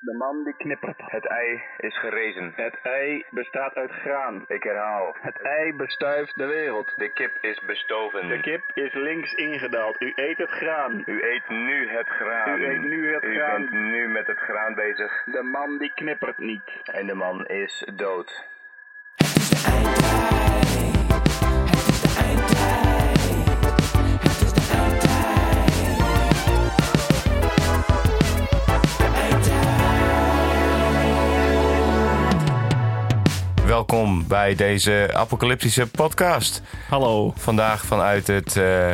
De man die knippert. Het ei is gerezen. Het ei bestaat uit graan. Ik herhaal. Het ei bestuift de wereld. De kip is bestoven. De kip is links ingedaald. U eet het graan. U eet nu het graan. U eet nu het U graan. bent nu met het graan bezig. De man die knippert niet. En de man is dood. Welkom bij deze apocalyptische podcast. Hallo. Vandaag vanuit het eh,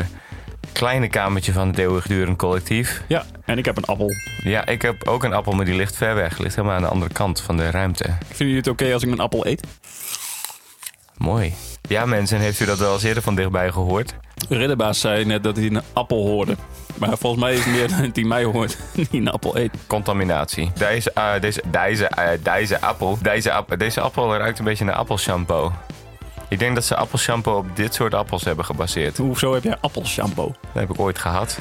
kleine kamertje van het eeuwigdurend collectief. Ja, en ik heb een appel. Ja, ik heb ook een appel, maar die ligt ver weg. Ligt helemaal aan de andere kant van de ruimte. Vinden jullie het oké als ik mijn appel eet? Mooi. Ja mensen, heeft u dat wel eens eerder van dichtbij gehoord? Ridderbaas zei net dat hij een appel hoorde. Maar volgens mij is het meer dat hij mij hoort die een appel eet. Contaminatie. Deze, eh, deze, deze, eh, deze appel, deze, app- deze appel ruikt een beetje naar appelshampoo. Ik denk dat ze appelshampoo op dit soort appels hebben gebaseerd. Hoezo heb jij appelshampoo? Dat heb ik ooit gehad.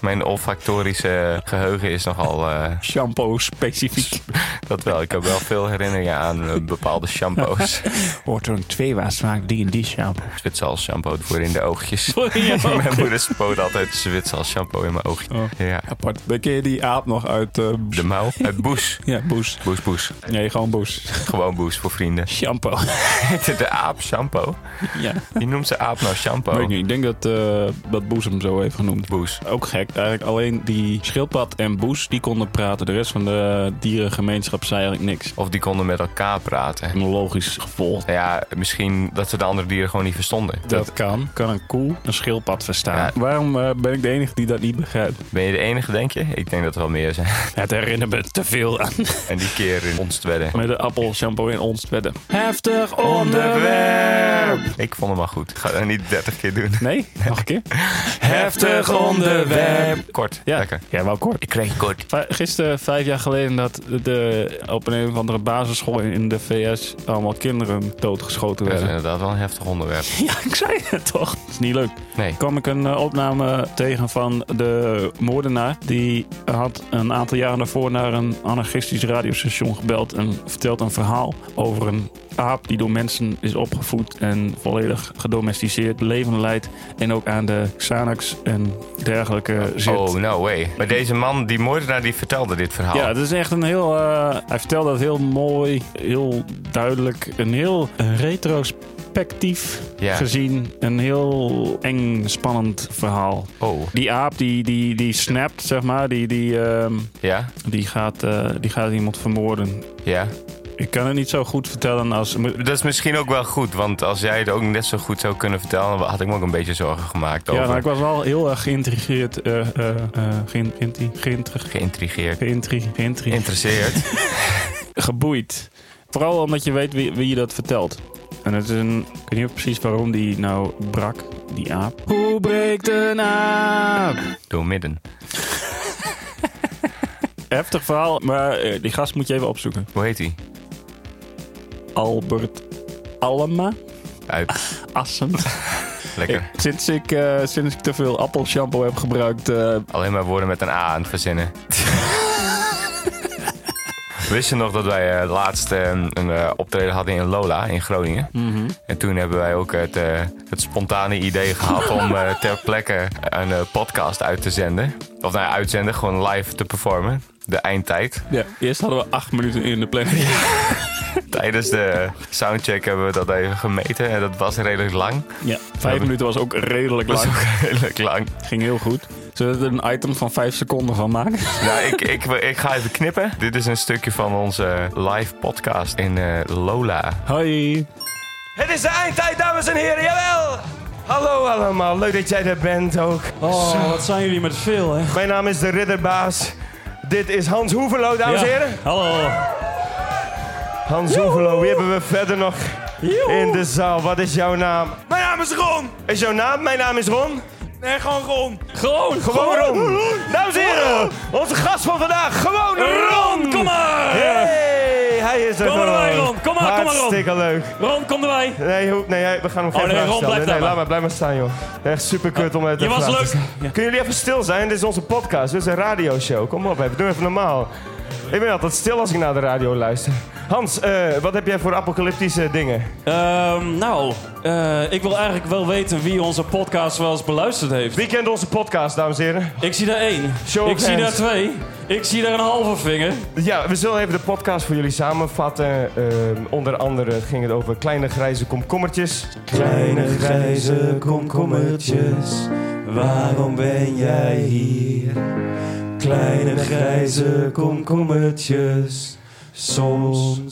Mijn olfactorische geheugen is nogal... eh, Shampoo specifiek. Dat wel. Ik heb wel veel herinneringen aan eh, bepaalde shampoos. Hoort er een tweewaas vaak die en die shampoo? Zwitsers shampoo voor in de oogjes. Voor in je oog. Mijn moeder spoot altijd Zwitsers shampoo in mijn oogje. Oh. Ja. Apart. Dan ken je die aap nog uit... eh, De mouw. Het boes. ja, boes. Boes, boes. Nee, gewoon boes. Gewoon boes voor vrienden. Shampoo. Heette de aap shampoo? ja. Wie noemt de aap nou shampoo? Weet ik niet. Ik denk dat, eh, dat Boes hem zo heeft genoemd. Boes. Ook gek. Eigenlijk alleen die schildpad en Boes, die konden praten. De rest van de dierengemeenschap zei eigenlijk niks. Of die konden met elkaar praten. Een logisch gevolg. Nou Ja, misschien dat ze de andere dieren gewoon niet verstonden. Dat kan. Kan een koe een schildpad verstaan? Ja. Waarom eh, ben ik de enige die dat niet begrijpt? Ben je de enige, denk je? Ik denk dat er wel meer zijn. Het herinnert me te veel aan. En die keer in ons tweede. Met de appel, shampoo in ons bedden. Heftig onderwerp! Ik vond hem wel goed. Ik ga dat niet 30 keer doen. Nee? Nog een keer? Heftig onderwerp. Kort. Ja, Lekker. ja wel kort. Ik kreeg kort. Va- Gisteren, vijf jaar geleden, dat de, op een of andere basisschool in de VS allemaal kinderen doodgeschoten Dat is werden. inderdaad wel een heftig onderwerp. Ja, ik zei het toch. Dat is niet leuk. Nee. kwam ik een eh, opname tegen van de moordenaar. Die had een aantal jaren daarvoor naar een anarchistisch radiostation gebeld en vertelt een verhaal over een aap die door mensen is opgevoed en volledig gedomesticeerd leven leidt en ook aan de Xanax en dergelijke zit. Oh, no way. Maar deze man, die moordenaar, die vertelde dit verhaal. Ja, het is echt een heel. eh, hij vertelt dat heel mooi, heel duidelijk, een heel retrospectief Ja. gezien, een heel eng, spannend verhaal. Oh, Die aap die, die, die snapt, zeg maar, die, die, ehm, ja? die, gaat, eh, die gaat iemand vermoorden. Ja. Ik kan het niet zo goed vertellen als. Dat is misschien ook wel goed, want als jij het ook net zo goed zou kunnen vertellen, dan had ik me ook een beetje zorgen gemaakt Ja, over. nou, ik was wel heel erg geïntrigeerd. eh eh eh, geïn- inti- geïntrig- Geïntrigeerd. geïntri- geïntri- Interesseerd. geboeid. Vooral omdat je weet wie, wie je dat vertelt. En het is een. Ik weet niet precies waarom die nou brak, die aap. Hoe breekt een aap? Door midden. Heftig verhaal, maar eh, die gast moet je even opzoeken. Hoe heet hij? Albert Allema. Uit. Assen. Lekker. Ik- sinds, ik, eh, sinds ik te veel appelshampoo heb gebruikt. eh, Alleen maar woorden met een A aan het verzinnen. Wist je nog dat wij eh, laatst eh, een eh, optreden hadden in Lola in Groningen? Mhm. En toen hebben wij ook het, eh, het spontane idee gehad om eh, ter plekke een eh, podcast uit te zenden. Of nou ja, uitzenden, gewoon live te performen. De eindtijd. ja, eerst hadden we acht minuten in de planning. Tijdens de soundcheck hebben we dat even gemeten en dat was redelijk lang. Ja, vijf minuten was ook redelijk Dat was ook lang. redelijk lang. Ging heel goed. Zullen we er een item van vijf seconden van maken? Nou, ik, ik, ik ga even knippen. Dit is een stukje van onze live podcast in eh, Lola. Hoi. Het is de eindtijd, dames en heren, jawel! Hallo allemaal, leuk dat jij er bent ook. Oh, wat zijn jullie met veel, hè? Mijn naam is de Ridderbaas. Dit is Hans Hoevelo, dames en heren. Hallo. Hans Hoevelo, wie hebben we verder nog in de zaal? Wat is jouw naam? Mijn naam is Ron. Is jouw naam? Mijn naam is Ron. Nee, gewoon Ron. Gewoon. Gewoon Ron. Dames en heren, onze gast van vandaag, gewoon Ron. Ron, kom maar. Hey, hij is er Kom nog. erbij, Ron. Kom maar, kom maar, Ron. Hartstikke leuk. Ron, kom erbij. Nee, hoe- nee, hij- we gaan hem geen Oh, nee, vragen Ron, stellen. nee, blijf daar laat maar. maar, blijf maar staan, joh. Echt super kut om het Je was leuk. Kunnen jullie even stil zijn? Dit is onze podcast. Dit is een radioshow. Kom op, even. Doe even normaal. Ik ben altijd stil als ik naar de radio luister. Hans, eh, wat heb jij voor apocalyptische dingen? Ehm, nou, eh, ik wil eigenlijk wel weten wie onze podcast wel eens beluisterd heeft. Wie kent onze podcast, dames en heren? Ik zie daar één. Show of ik zie daar hands. twee. Ik zie daar een halve vinger. Ja, we zullen even de podcast voor jullie samenvatten. Ehm, onder andere ging het over kleine grijze komkommertjes. Kleine grijze komkommertjes, waarom ben jij hier? Kleine grijze komkommertjes, soms.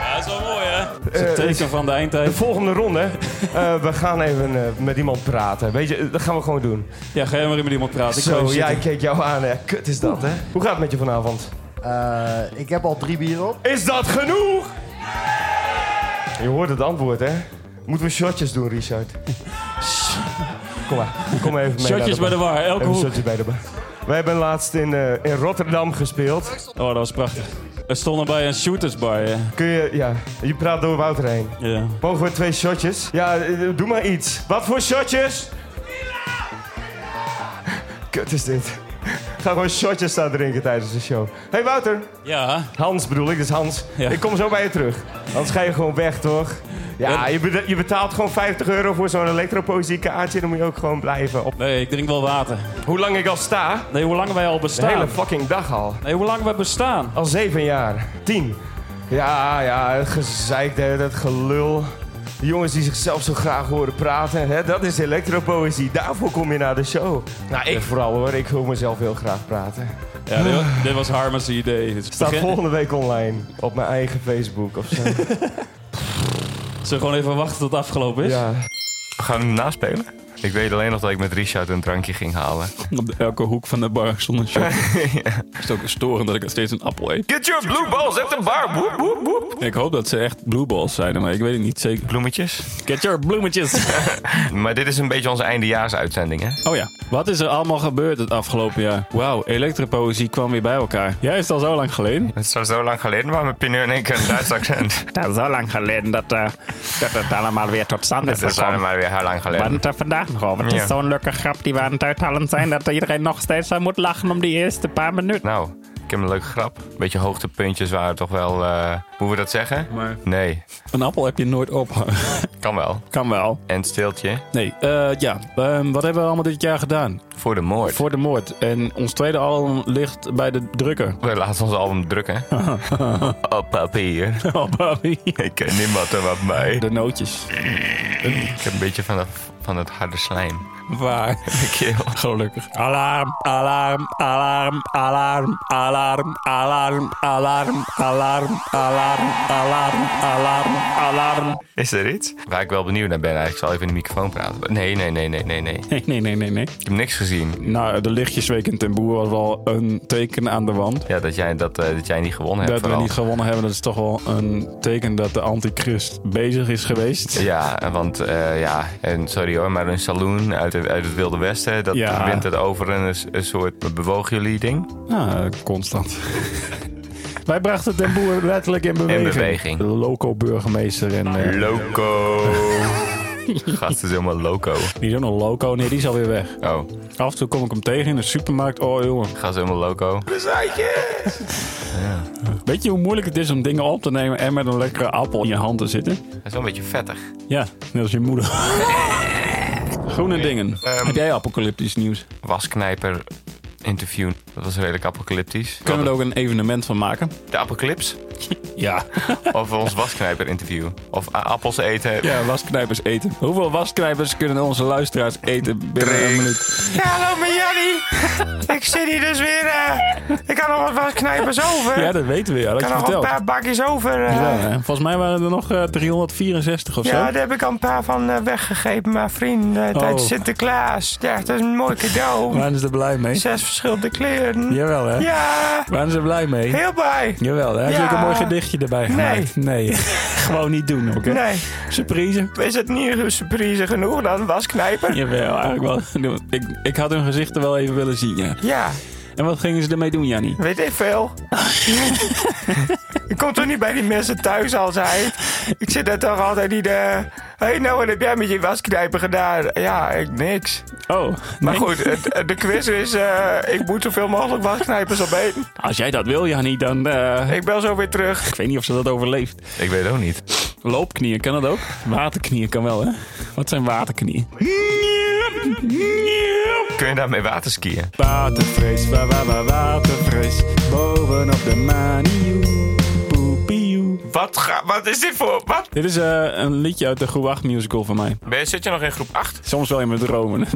Ja, dat is wel mooi, hè? Eh, Teken van de de eindtijd. volgende ronde, eh, we gaan even eh, met iemand praten. Weet je, dat gaan we gewoon doen. Ja, ga jij maar even met iemand praten. Ik ga Zo, even ja, ik zitten. keek jou aan. hè. kut is dat, hè? Hoe gaat het met je vanavond? Eh, ik heb al drie bieren op. Is dat genoeg? Je hoort het antwoord, hè? Moeten we shotjes doen, Richard? Kom maar, kom even mee. Shotjes bij de bar. war, elke Even hoek. shotjes bij de bar. Wij hebben laatst in, eh, in Rotterdam gespeeld. Oh, dat was prachtig. We stonden bij een shootersbar, hè. Kun je, ja, je praat door Wouter heen. Ja. Mogen we twee shotjes? Ja, eh, doe maar iets. Wat voor shotjes? Kut is dit. Ga gewoon shotjes staan drinken tijdens de show. hey Wouter. Ja, Hans bedoel ik, dus Hans. Ja. Ik kom zo bij je terug. Anders ga je gewoon weg, toch? Ja, En- je, beda- je betaalt gewoon 50 euro voor zo'n elektropoëziekaartje. Dan moet je ook gewoon blijven. Op nee, ik drink wel water. hoe lang ik al sta? Nee, hoe lang wij al De hele bestaan. fucking dag al. Nee, hoe lang we bestaan. Al zeven jaar. Tien. Ja, ja, het gezeik, de hele tijd, het gelul. Die jongens die zichzelf zo graag horen praten. Hè, dat is elektropoëzie. Daarvoor kom je naar de show. Nou, ik vooral hoor. Ik hoor mezelf heel graag praten. Ja, dit was, dit was Harmers idee. Het Staat begin- volgende week online. Op mijn eigen Facebook of zo. Zullen we gewoon even wachten tot het afgelopen is? ja. We gaan hem naspelen. Ik weet alleen nog dat ik met Richard een drankje ging halen. Op elke hoek van de bar zonder shot. Het is ook storend dat ik het steeds een appel eet. Get your blue balls at the bar. Woep, woep, woep. Ik hoop dat ze echt blue balls zijn, maar ik weet het niet zeker. Bloemetjes. Get your bloemetjes. Maar dit is een beetje onze eindejaarsuitzending, hè? Oh ja, wat is er allemaal gebeurd het afgelopen jaar? Wauw, elektropoëzie kwam weer bij elkaar. Jij is het al zo lang geleden. Het is al zo lang geleden, maar mijn pineur in één keer een Duits accent. Het is zo lang geleden dat, eh, dat het allemaal weer tot stand Het is allemaal weer heel lang geleden. er vandaag nog over. Het is Ja. zo'n leuke grap die we aan het uithalen zijn... dat iedereen nog steeds aan moet lachen om die eerste paar minuten. Nou, ik heb een leuke grap. Beetje hoogtepuntjes waren toch wel... eh, hoe we dat zeggen? Maar- Nee, Een appel heb je nooit op. kan wel. kan wel. En het stiltje Nee, eh, ja. Ehm, wat hebben we allemaal dit jaar gedaan? voor de moord. Voor de moord. En ons tweede album ligt bij de drukker. We laten ons album drukken. Op papier. Oh, Bobby. Ik ken niemand er wat mij. De nootjes. Ik heb een beetje van, dat, van het harde slijm. Waar? Keel. Gelukkig. Alarm, alarm, alarm, alarm, alarm, alarm, alarm, alarm, alarm, alarm, alarm, alarm. Is er iets? Waar ik wel benieuwd naar ben, eigenlijk. Ik zal even in de microfoon praten. Nee, nee, nee, nee, nee, nee. Nee, nee, nee, nee, nee. Ik heb niks gezien. Nou, de lichtjesweek in Ten Boer was wel een teken aan de wand. Ja, dat jij, dat, eh, dat jij niet gewonnen hebt. Dat we vooral. niet gewonnen hebben, dat is toch wel een teken dat de antichrist bezig is geweest. Ja, want eh, ja, en sorry hoor, maar een saloon uit, het- uit het Wilde Westen, dat Ja. wint het over een, een soort bewoog jullie ding. Ja, Nou, eh, constant. Wij brachten Ten Boer letterlijk in beweging. beweging. De loco-burgemeester en... eh, Loco. Gast is helemaal loco. die is ook nog loco. Nee, die is alweer weg. Oh, Af en toe kom ik hem tegen in de supermarkt. Oh, jongen. gast is helemaal loco. Weet je hoe moeilijk het is om dingen op te nemen en met een lekkere appel in je hand te zitten? Hij is wel een beetje vettig. Ja, net als je moeder. Groene dingen. Heb jij apocalyptisch nieuws? Wasknijper interview, dat was redelijk apocalyptisch. Kunnen we er ook een evenement van maken? De apocalyps? Ja. Of ons wasknijper interview? Of a- appels eten? Ja, wasknijpers eten. Hoeveel wasknijpers kunnen onze luisteraars eten binnen een minuut? Hallo met jullie. ik zit hier dus weer. eh, ik had nog wat wasknijpers over. Ja, dat weten we. Ja, dat ik had je had nog een verteld. paar bakjes over. eh. Ja, ja, hè. Volgens mij waren er nog eh, 364 of zo. daar heb ik al een paar van eh, weggegeven. Maar vrienden, Oh. tijdens Sinterklaas. Ja, dat is een mooi cadeau. Waren ze er blij mee? Zes verschillende kleuren. Ja. Jawel, hè? Waren ze blij mee? heel blij. Jawel, hè? Heb je Ja. ook een mooi gedichtje erbij gemaakt? Nee. Gewoon niet doen, oké? Nee, Surprise. is het niet een surprise genoeg dan wasknijper? Ja. Jawel, eigenlijk wel. Ik, ik had hun gezichten wel even willen zien, ja. En wat gingen ze ermee doen, Jannie? weet ik veel. ik kom toch niet eh, bij die mensen thuis als hij. Ik zit er toch altijd in de hey, nou, wat heb jij met je wasknijper gedaan? Ja, ik niks. Oh, Maar nee. goed, het- het- de quiz is, eh, ik moet zoveel mogelijk wasknijpers opeten. Als jij dat wil, Jannie, dan... eh, Ik bel zo weer terug. ik weet niet of ze dat overleeft. Ik weet ook niet. Loopknieën, kan dat ook? Waterknieën kan wel, hè? Wat zijn waterknieën? Kun je daarmee waterskiën? Watervrees, wa wa wa watervrees. Bovenop de manioe. Poepioe. Wat, ga, wat is dit voor? Wat? Dit is eh, een liedje uit de Groewacht musical van mij. Ben je, zit je nog in groep 8? Ik Soms wel in mijn dromen. Oh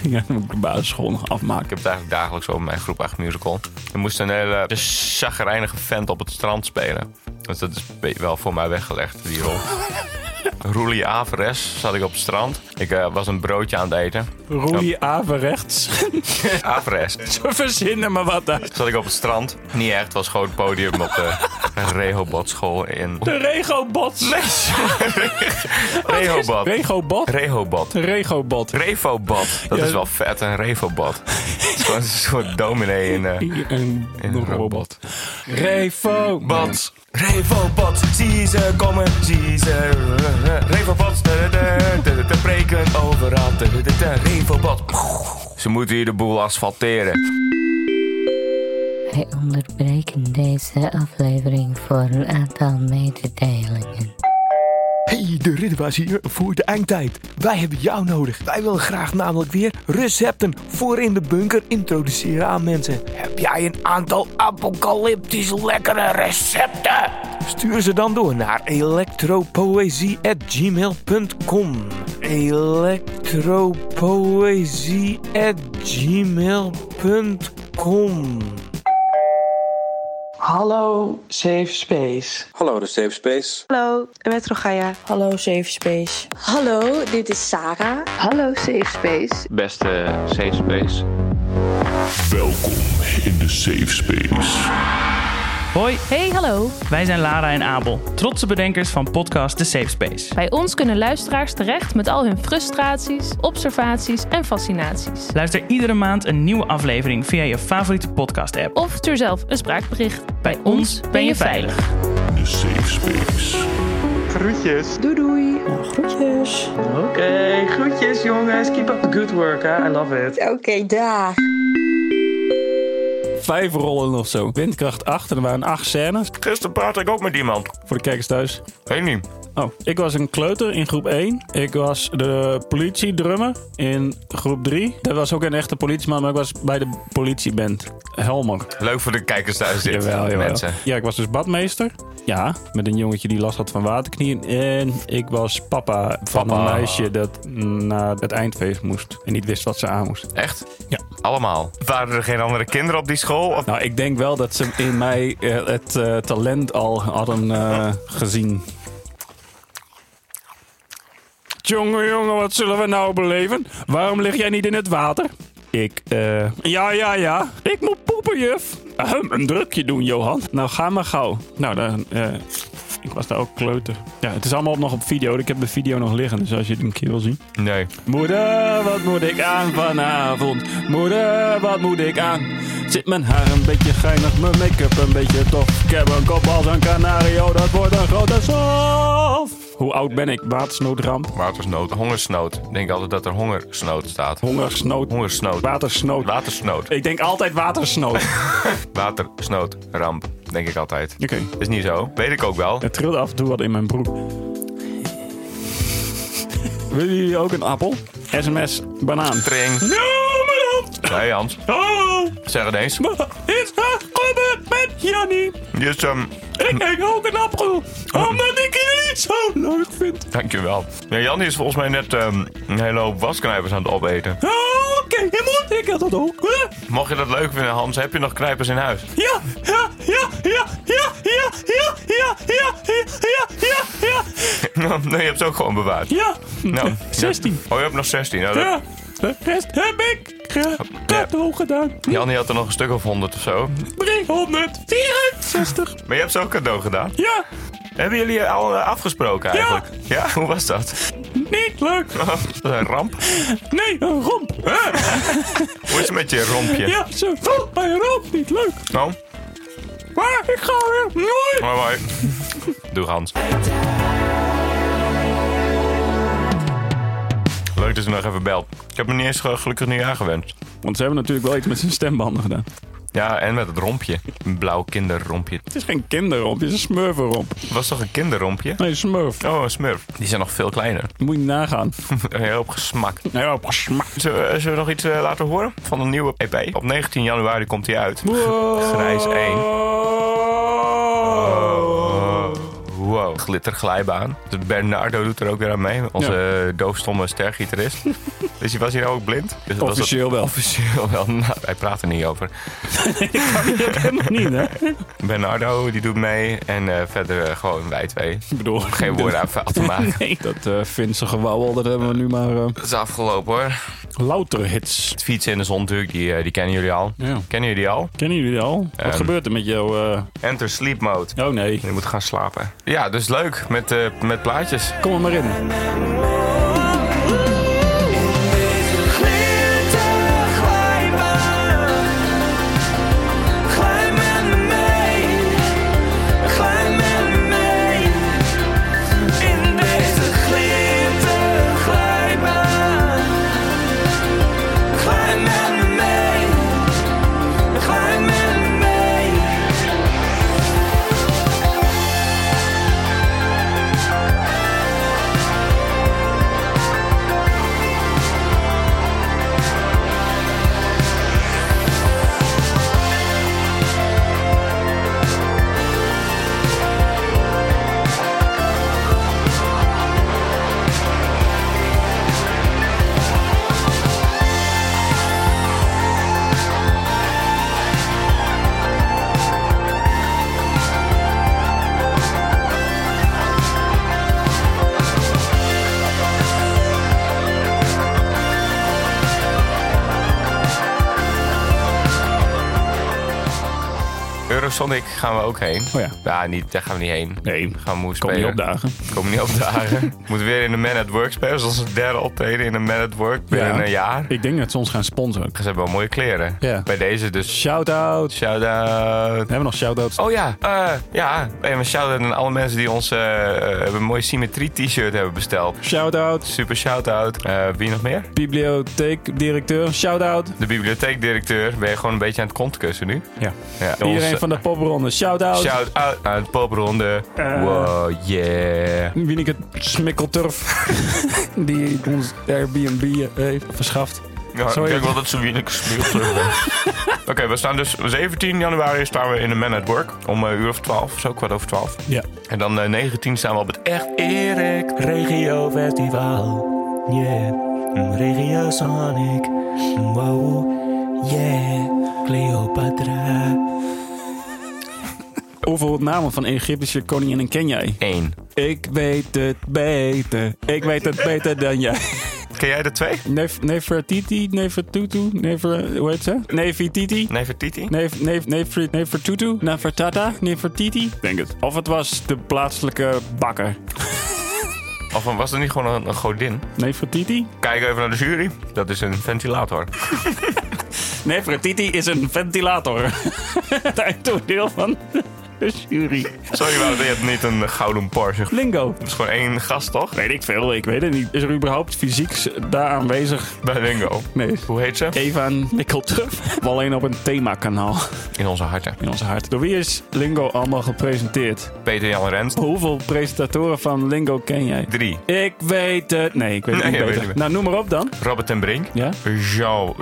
ja. dan moet ik de basisschool nog afmaken. heb het eigenlijk dagelijks over mijn groep 8 musical. Er moest een hele chagrijnige vent op het strand spelen. Dus dat is be- wel voor mij weggelegd, die rol. Roelie Averes zat ik op het strand. Ik eh, was een broodje aan het eten. Roei averechts. Averes. Ze verzinnen maar wat daar. Zat ik op het strand. Niet echt, was gewoon het podium op de Rehobotschool in... De regobots. Rehobot. Regobot. Rehobot. Regobot. Revobot. Dat Ja. is wel vet, een Revobot. Het is gewoon een soort dominee in... eh, Een een robot. Refo. Bats. Revobots, zie ze komen, zie ze. eh, Revobots, te, te, te, te breken overal. Te, te, te, Revobot. Ze moeten hier de boel asfalteren. Wij onderbreken deze aflevering voor een aantal mededelingen. Hey, de Ridderbaas hier voor de eindtijd. Wij hebben jou nodig. Wij willen graag namelijk weer recepten voor in de bunker introduceren aan mensen. Heb jij een aantal apocalyptisch lekkere recepten? Stuur ze dan door naar electropoëzie@gmail.com. electropoëzie@gmail.com. Hallo Safe Space. Hallo, de Safe Space. Hallo, met Rogaya. Hallo, Safe Space. Hallo, dit is Sarah. Hallo, Safe Space. Beste safe space. Welkom in de safe space. Hoi, Hey, hallo. wij zijn Lara en Abel, trotse bedenkers van podcast The Safe Space. Bij ons kunnen luisteraars terecht met al hun frustraties, observaties en fascinaties. Luister iedere maand een nieuwe aflevering via je favoriete podcast app. Of stuur zelf een spraakbericht. Bij ons ben je veilig. De safe space. Doei doei. Nou, groetjes. Oké, groetjes jongens. Keep up the good work, hè. I love it. Oké, dag. Vijf rollen of zo. Windkracht 8. En er waren acht scènes. Gisteren praatte ik ook met iemand. Voor de kijkers thuis. Weet niet. Oh, ik was een kleuter in groep 1. Ik was de politiedrummer in groep 3. Dat was ook een echte politieman, maar ik was bij de politieband. Helmer. Leuk voor de kijkers thuis dit, mensen. Ja, ik was dus badmeester. Ja, met een jongetje die last had van waterknieën. En ik was papa van Papa. een meisje dat naar het eindfeest moest. En niet wist wat ze aan moest. Echt? Ja. Allemaal. Waren er geen andere kinderen op die school? Of... Nou, ik denk wel dat ze in mij eh, het eh, talent al hadden eh, gezien. Jongen, jongen, wat zullen we nou beleven? Waarom lig jij niet in het water? Ik, eh... Ja, ja, ja. Ik moet poepen, juf. Ahem, een drukje doen, Johan. Nou, ga maar gauw. Nou, dan... eh, ik was daar ook kleuter. Ja, het is allemaal nog op video. Ik heb de video nog liggen, dus als je het een keer wil zien. Nee. Moeder, wat moet ik aan vanavond? Moeder, wat moet ik aan? Zit mijn haar een beetje geinig, mijn make-up een beetje tof. Ik heb een kop als een kanario, dat wordt een grote sof. Hoe oud ben ik? Watersnoodramp, Watersnood. Hongersnood. Ik denk altijd dat er hongersnood staat. hongersnood, Hongersnood. watersnood. Watersnood. Ik denk altijd watersnood. Oké. Watersnood. Ramp. Denk ik altijd. Is niet zo. Weet ik ook wel. Het trilde af en toe wat in mijn broek. Willen jullie ook een appel? SMS, banaan. Tring. Noem maar op! Hey Hans. Oh, Zeg het eens. wat is er gebeurd met Jannie? Dus, ehm, Ik eet ook een appel, omdat ik jullie zo leuk vind. dankjewel. Ja, Jan is volgens mij net ehm, een hele hoop wasknijpers aan het opeten. Oh, oké, je moet ik dat ook. hè? Mocht je dat leuk vinden, Hans, heb je nog knijpers in huis? Ja, ja, ja, ja, ja, ja, ja, ja, ja, ja, ja, ja, Nou, nee, je hebt ze ook gewoon bewaard. ja, Nou, 16. Oh, je hebt nog 16. Nou, dat- Ja, de rest heb ik cadeau gedaan. Jan die had er nog een stuk of 100 of zo. 364. Maar je hebt ze ook cadeau gedaan. Ja, Hebben jullie al eh, afgesproken eigenlijk? Ja. hoe was dat? niet leuk. dat is een ramp. Nee, een romp. Hoe is het met je rompje? Ja, ze vond mijn romp niet leuk. Nou, Maar ik ga weer nooit mooi mooi. Doe Hans. Leuk dat u nog even belt. Ik heb me niet eens eh, gelukkig nieuwjaar gewenst. Want ze hebben natuurlijk wel iets met zijn stembanden gedaan. Ja, en met het rompje. Een blauw kinderrompje. Het is geen kinderromp, het is een smurverromp. Was toch een kinderrompje? Nee, smurf. Oh, een smurf. Die zijn nog veel kleiner. Moet je nagaan. Een hoop gesmak. Een hoop gesmak. Zullen, we- zullen we nog iets eh, laten horen van een nieuwe EP? Op 19 januari komt hij uit. Wow. Grijs 1. Oh. Wow, glitterglijbaan. Dus Bernardo doet er ook weer aan mee. Onze eh, doofstomme stergitarist. dus die was hier ook blind. Dus dat was het- Officieel wel. Officieel wel. Nou, wij praten er niet over. Niet, hè? Bernardo die doet mee. En eh, verder eh, gewoon wij twee. Ik bedoel... Geen woorden aan vuil te maken. Nee, dat eh Finse gewauwel, dat hebben we nu maar... eh, Dat is afgelopen hoor. louter hits. Het fietsen in de zon natuurlijk, die, eh, die kennen jullie al. Ja. Kennen jullie die al? Kennen jullie die al? Wat Ehm. gebeurt er met jou? eh? Enter sleep mode. Oh nee. Je moet gaan slapen. Ja, dus leuk met, eh, met plaatjes. Kom er maar in. Glij met me mee, glij met me mee. In deze glitterglijbaan. Glij met me mee, glij met me mee. Eurosonic gaan we ook heen. Oh ja. niet, daar gaan we niet heen. Nee, Gaan we moe kom je spelen. opdagen. Kom niet opdagen. Moet weer in de Man at Work spelen. Dat is onze derde optreden in de Man at Work binnen Ja. een jaar. Ik denk dat ze ons gaan sponsoren. Ze hebben wel mooie kleren. Ja. Bij deze dus Shout-out. shout-out. We hebben nog shout-outs. Oh ja, eh, ja. En we shout-out aan alle mensen die ons eh, eh, een mooie symmetrie-t-shirt hebben besteld. Shout-out. Super shout-out. Eh, wie nog meer? Bibliotheekdirecteur. Shout-out. De bibliotheekdirecteur. Ben je gewoon een beetje aan het kontkussen nu? Ja. Ja. Iedereen van de popronde. Shout-out. Shout-out aan het popronde. Eh. Wow, yeah. Wieneke Smikkelturf. die ons Airbnb eh, heeft verschaft. Ja, Sorry. ik denk wel dat ze Wienik gespeeld hebben. Oké, we staan dus 17 januari staan we in de Man at Work. Om een uur of 12, zo kwart over 12. Ja. En dan eh, 19 staan we op het echt Erik. Regio Festival, yeah. Mm, Regio Sonic, Mm, wow, yeah. Cleopatra. Hoeveel namen van Egyptische koningen ken jij? 1. Ik weet het beter. Ik weet het beter dan jij. Ken jij de twee? Nef Nefertiti, Nefertutu, Nefer... Hoe heet ze? Nefertiti? Nefertiti? Nef, nef, Nefer- Nefertutu? Nefertata? Nefertiti? Denk het. Of het was de plaatselijke bakker. Of was er niet gewoon een, een godin? Nefertiti? Kijk even naar de jury. Dat is een ventilator. Nefertiti is een ventilator. het eindtoneel van de jury. Sorry, Wouter, je hebt niet een gouden Porsche. Het Lingo. is gewoon één gast, toch? Weet ik veel, ik weet het niet. Is er überhaupt fysiek s- daar aanwezig? Bij Lingo. Nee. Hoe heet ze? Eva Mikkelturf. Alleen op een themakanaal In onze harten. in onze hart. Door wie is Lingo allemaal gepresenteerd? Peter Jan Rens. Hoeveel presentatoren van Lingo ken jij? Drie. Ik weet het. Nee, ik weet het Nee, niet je weet beter. het niet. nou, noem maar op dan. Robert ten Brink. Ja? Jean...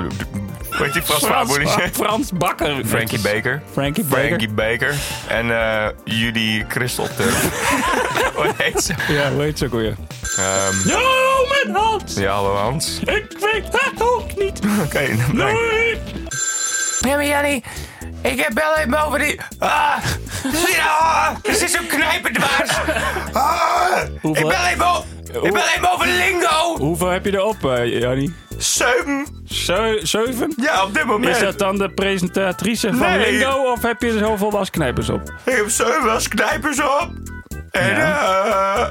Weet je, Frans Faber. Frans Bakker. Frankie Baker. Frankie Baker. Frankie Baker. En eh jullie Christel Turf. Hoe heet ze? Ja, hoe heet ze ook weer? Ehm, Ja, oh, mijn hand! ja, hallo Hans. Oké, Ik weet het ook niet. dan ben ik- Nee. Ja, maar Jannie, ik heb wel even over die... Ah, ja, het is zo'n knijpendwaas. Ah, ik Hoeveel- bel even op. Ik bel even over lingo. Hoeveel heb je erop, eh Jannie? Zeven. Zeu- zeven? Ja, op dit moment. Is dat dan de presentatrice van Nee. Lingo of heb je er zoveel wasknijpers op? Ik heb zeven als knijpers op. En eh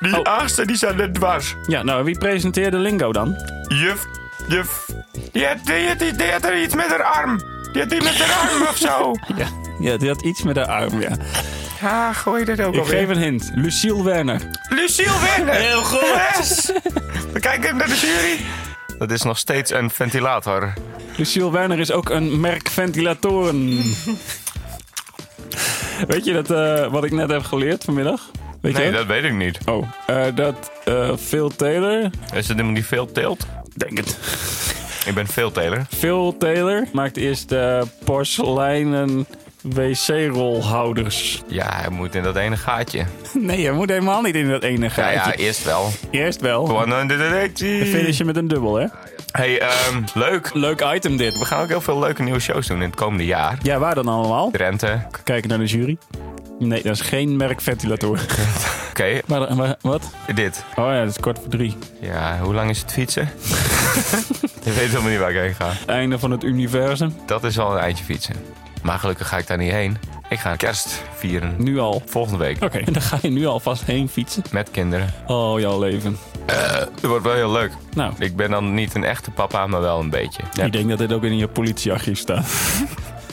die Oh. achtste die staat net dwars. Ja, nou, wie presenteerde Lingo dan? Juf, juf. Die had, die, had- die had er iets met haar arm. Die had iets met haar arm of zo. Ja, die had iets met haar arm, ja. Ja, gooi dat ook Ik alweer. geef een hint. Luciel Werner. Luciel Werner! Heel goed. We kijken even naar de jury. Dat is nog steeds een ventilator. Luciel Werner is ook een merk ventilatoren. Weet je dat, eh, wat ik net heb geleerd vanmiddag? Weet nee, je dat weet ik niet. Oh, eh, dat eh, Phil Taylor... Is het helemaal niet veel teelt? Denk het. Ik ben veel teler. Phil Taylor maakt eerst eh, porseleinen wc-rolhouders. Ja, hij moet in dat ene gaatje. Nee, je moet helemaal niet in dat ene Ja, gaatje. ja, eerst wel. Eerst wel. Gewoon een Dan finish je met een dubbel, hè? Hey, ehm, leuk. Leuk item dit. We gaan ook heel veel leuke nieuwe shows doen in het komende jaar. Ja, waar dan allemaal? Drenthe. Kijken naar de jury. Nee, dat is geen merk ventilator. Oké, maar, maar wat? dit. Oh ja, dat is kwart voor drie. Ja, hoe lang is het fietsen? Je weet helemaal niet waar ik heen ga. Einde van het universum. Dat is al een eindje fietsen. Maar gelukkig ga ik daar niet heen. Ik ga kerst vieren. Nu al. Volgende week. Oké, en dan ga je nu alvast heen fietsen. Met kinderen. Oh, jouw leven. Het wordt wel heel leuk. Nou. Ik ben dan niet een echte papa, maar wel een beetje. Ik denk dat dit ook in je politiearchief staat.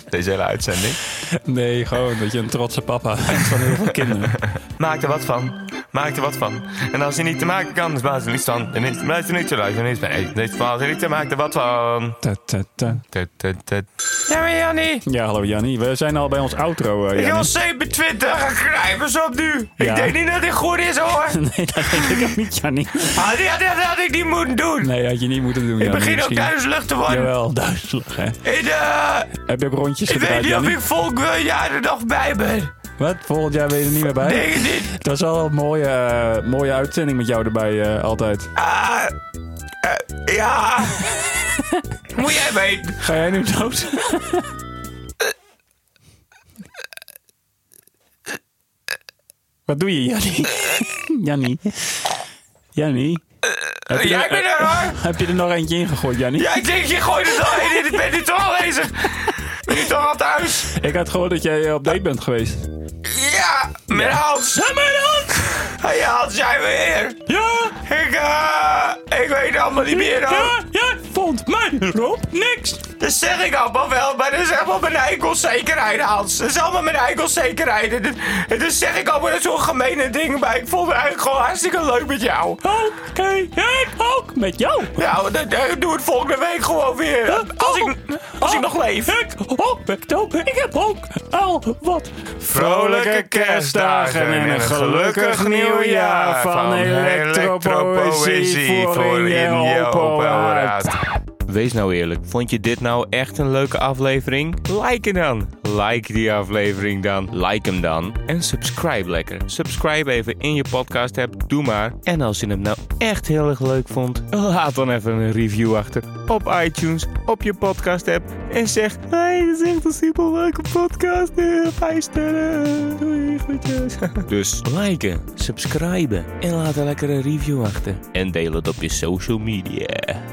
Deze hele uitzending. Nee, gewoon dat je een trotse papa bent van heel veel kinderen. Maak er wat van. Maak er wat van. En als je niet te maken kan, is baas er niets van. En het blijft er niet te luisteren. Niet bij. Dit baas er niet te maken, er wat van. Ta, ta, ta. Tut, tut, tut. Ja, maar Jannie. Ja, hallo Jannie. We zijn al bij ons outro, eh, Ik Jannie. wil 27 grijpers op nu. Ja. Ik denk niet dat dit goed is hoor. Nee, dat denk ik ook niet, Jannie. Had, had, had, had ik niet moeten doen. Nee, had je niet moeten doen, Ik Jannie. begin ook misschien. duizelig te worden. Jawel, duizelig, hè. Ik, eh, Heb je ook rondjes ik weet gedraaid, niet of Jannie? ik volgend jaar er nog bij ben. Wat? Volgend jaar ben je er niet meer bij? Denk het niet. Dat is wel een mooie, eh, mooie uitzending met jou erbij eh, altijd. Ah, eh, ja. Moet jij weten. Ga jij nu dood? Wat doe je, Jannie? Jannie. Jannie. Heb je, Jij er, bent er hoor. heb je er nog eentje in gegooid, Jannie? Ja, ik denk, je gooit het al in. Ik ben nu toch al bezig. Ben je toch al thuis? Ik had gehoord dat jij eh, op date bent geweest. Ja, mijn Hans. Ja, mijn Hans. Hey, Hans, jij weer. Ja! Ik, eh, ik weet het allemaal niet meer hoor. jij vond mijn romp niks! Dat zeg ik allemaal wel, maar dat is allemaal mijn eikelzekerheid, Hans. Dat is allemaal mijn eikelzekerheid. En dat- En dat zeg ik allemaal zo'n gemene ding bij. Ik vond het eigenlijk gewoon hartstikke leuk met jou. Oké, ik ook met jou! Nou, dat, dat- doe het volgende week gewoon weer. Als Oh. ik, als ik nog leef. Ik ook met ook. Ik heb ook al wat Vrolijke kerstdagen en een gelukkig nieuwjaar van Elektropoëzie voor in je open haard. Wees nou eerlijk, vond je dit nou echt een leuke aflevering? Like hem dan! Like die aflevering dan, like hem dan. En subscribe lekker. Subscribe even in je podcast app, doe maar. En als je hem nou echt heel erg leuk vond, laat dan even een review achter. Op iTunes, op je podcast app. En zeg, hey, dit is echt een super leuke podcast. Eh, Vijf sterren, doei, groetjes. Dus liken, subscriben en laat een lekkere review achter. En deel het op je social media.